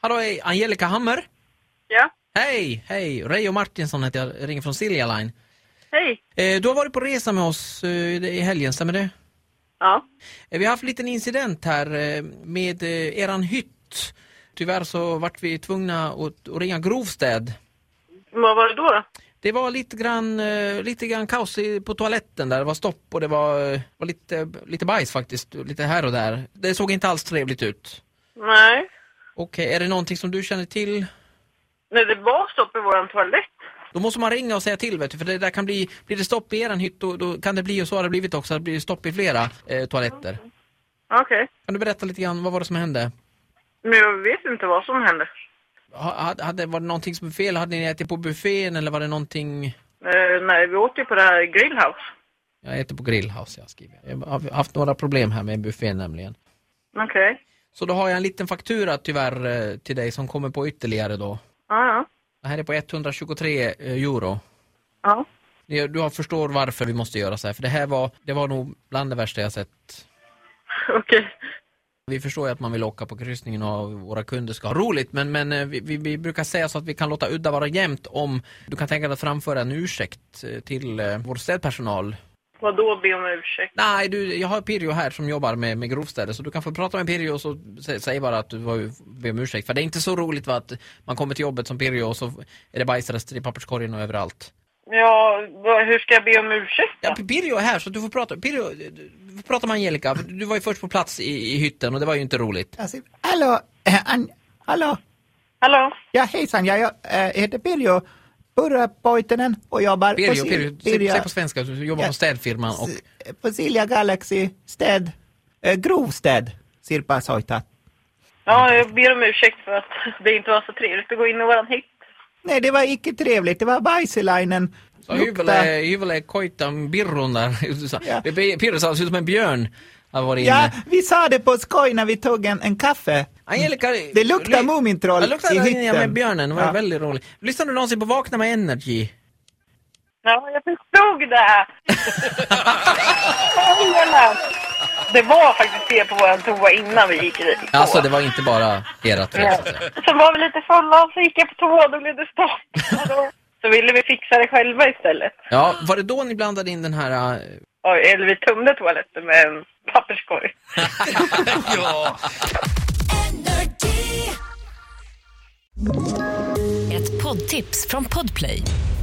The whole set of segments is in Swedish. Hallå, hej. Angelica Hammer. Ja, Hej, hej. Reijo Martinsson heter jag. jag. Ringer från Silja Line. hej. Eh, du har varit på resa med oss eh, i helgen, stämmer det? Ja, Eh, Vi har haft en liten incident här eh, med eh, eran hytt. Tyvärr så vart vi tvungna att, att ringa grovstäd. vad var det då? då? Det var lite grann, eh, lite grann kaos i- på toaletten där. Det var stopp och det var, eh, var lite, lite bajs faktiskt. Lite här och där. Det såg inte alls trevligt ut. Nej. Okej, är det någonting som du känner till? Nej, det var stopp i våran toalett. Då måste man ringa och säga till vet du, för det där kan bli, blir det stopp i eran hytt då, då kan det bli, och så har det blivit också, det blir stopp i flera eh, toaletter. Okej. Kan du berätta lite grann, vad var det som hände? Men jag vet inte vad som hände. Ha- Hade, hade, var det någonting som var fel? Hade ni ätit på buffén eller var det någonting? Eh, nej, vi åt ju på det här grillhouse. Jag äter på grillhouse, jag skriver. Jag har haft några problem här med buffén nämligen. Okej. Så då har jag en liten faktura tyvärr eh, till dig som kommer på ytterligare då. Ja, ja. Det här är på 123 euro. Ja. Det- Du har- förstår varför vi måste göra så här, för det här var, det var nog bland det värsta jag sett Okej. Vi förstår ju att man vill åka på kryssningen och våra kunder ska ha roligt men, men eh, vi, vi, vi brukar säga så att vi kan låta udda vara jämnt om du kan tänka dig att framföra en ursäkt eh, till eh, vår städpersonal. Vad då be om ursäkt? Nej, du, jag har Pirjo här som jobbar med, med grovstäder så du kan få prata med Pirjo och så sä, säg bara att du var, ber om ursäkt. För det är inte så roligt va, att man kommer till jobbet som Pirjo och så är det bajsrester i papperskorgen och överallt. Ja, vad- hur ska jag be om ursäkt då? Ja, Pirjo är här så du får prata, Pirjo, du- du får prata med Angelica. för Du var ju först på plats i, i hytten och det var ju inte roligt. Alltså, hallå, eh, an, hallå, Hallå? ja hejsan, jag, jag eh, heter Pirjo Purrapoitinen och jobbar på, Pirjo, Sil- Pirjo, säg, Pirjo- säg på svenska, du jobbar Ja. på städfirman och S- på Silja Galaxy städ, eh, grovstäd, Sirpa Soita. Ja, jag ber om ursäkt för att det inte var så trevligt att gå in i våran hytt. Nej, det var icke trevligt, det var Bajsilainen. Så hyvle, hyvle koitan birron där. Så- Ja. det blir- Pirro sa, ser ut som en björn. Har varit Ja, inne. vi sa det på skoj när vi tog en, en kaffe. Angelica, Mm. Det luktar Mumintroll Det luktar i där hytten. inne med björnen, det var Ja. väldigt roligt. Lyssnar du någonsin på Vakna med Energy? Ja, jag förstod det! Helvete. det var faktiskt det på våran toa innan vi gick i- på. Alltså det var inte bara ert fel så att säga. Så var vi lite fulla och så gick jag på toa och då blev det stopp. Och då- Så ville vi fixa det själva istället. Ja, var det då ni blandade in den här... eh, Och, eller vi tömde toaletten med en papperskorg. Ett poddtips från Podplay.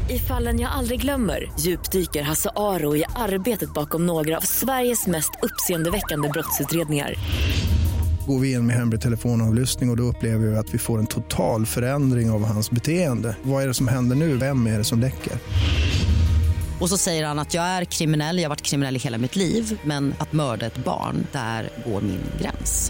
I fallen jag aldrig glömmer djupdyker Hasse Aro i arbetet bakom några av Sveriges mest uppseendeväckande brottsutredningar. Går vi in med hemlig telefonavlyssning och, och då upplever vi att vi får en total förändring av hans beteende. Vad är det som händer nu? Vem är det som läcker? Och så säger han att jag är kriminell, jag har varit kriminell i hela mitt liv men att mörda ett barn, där går min gräns.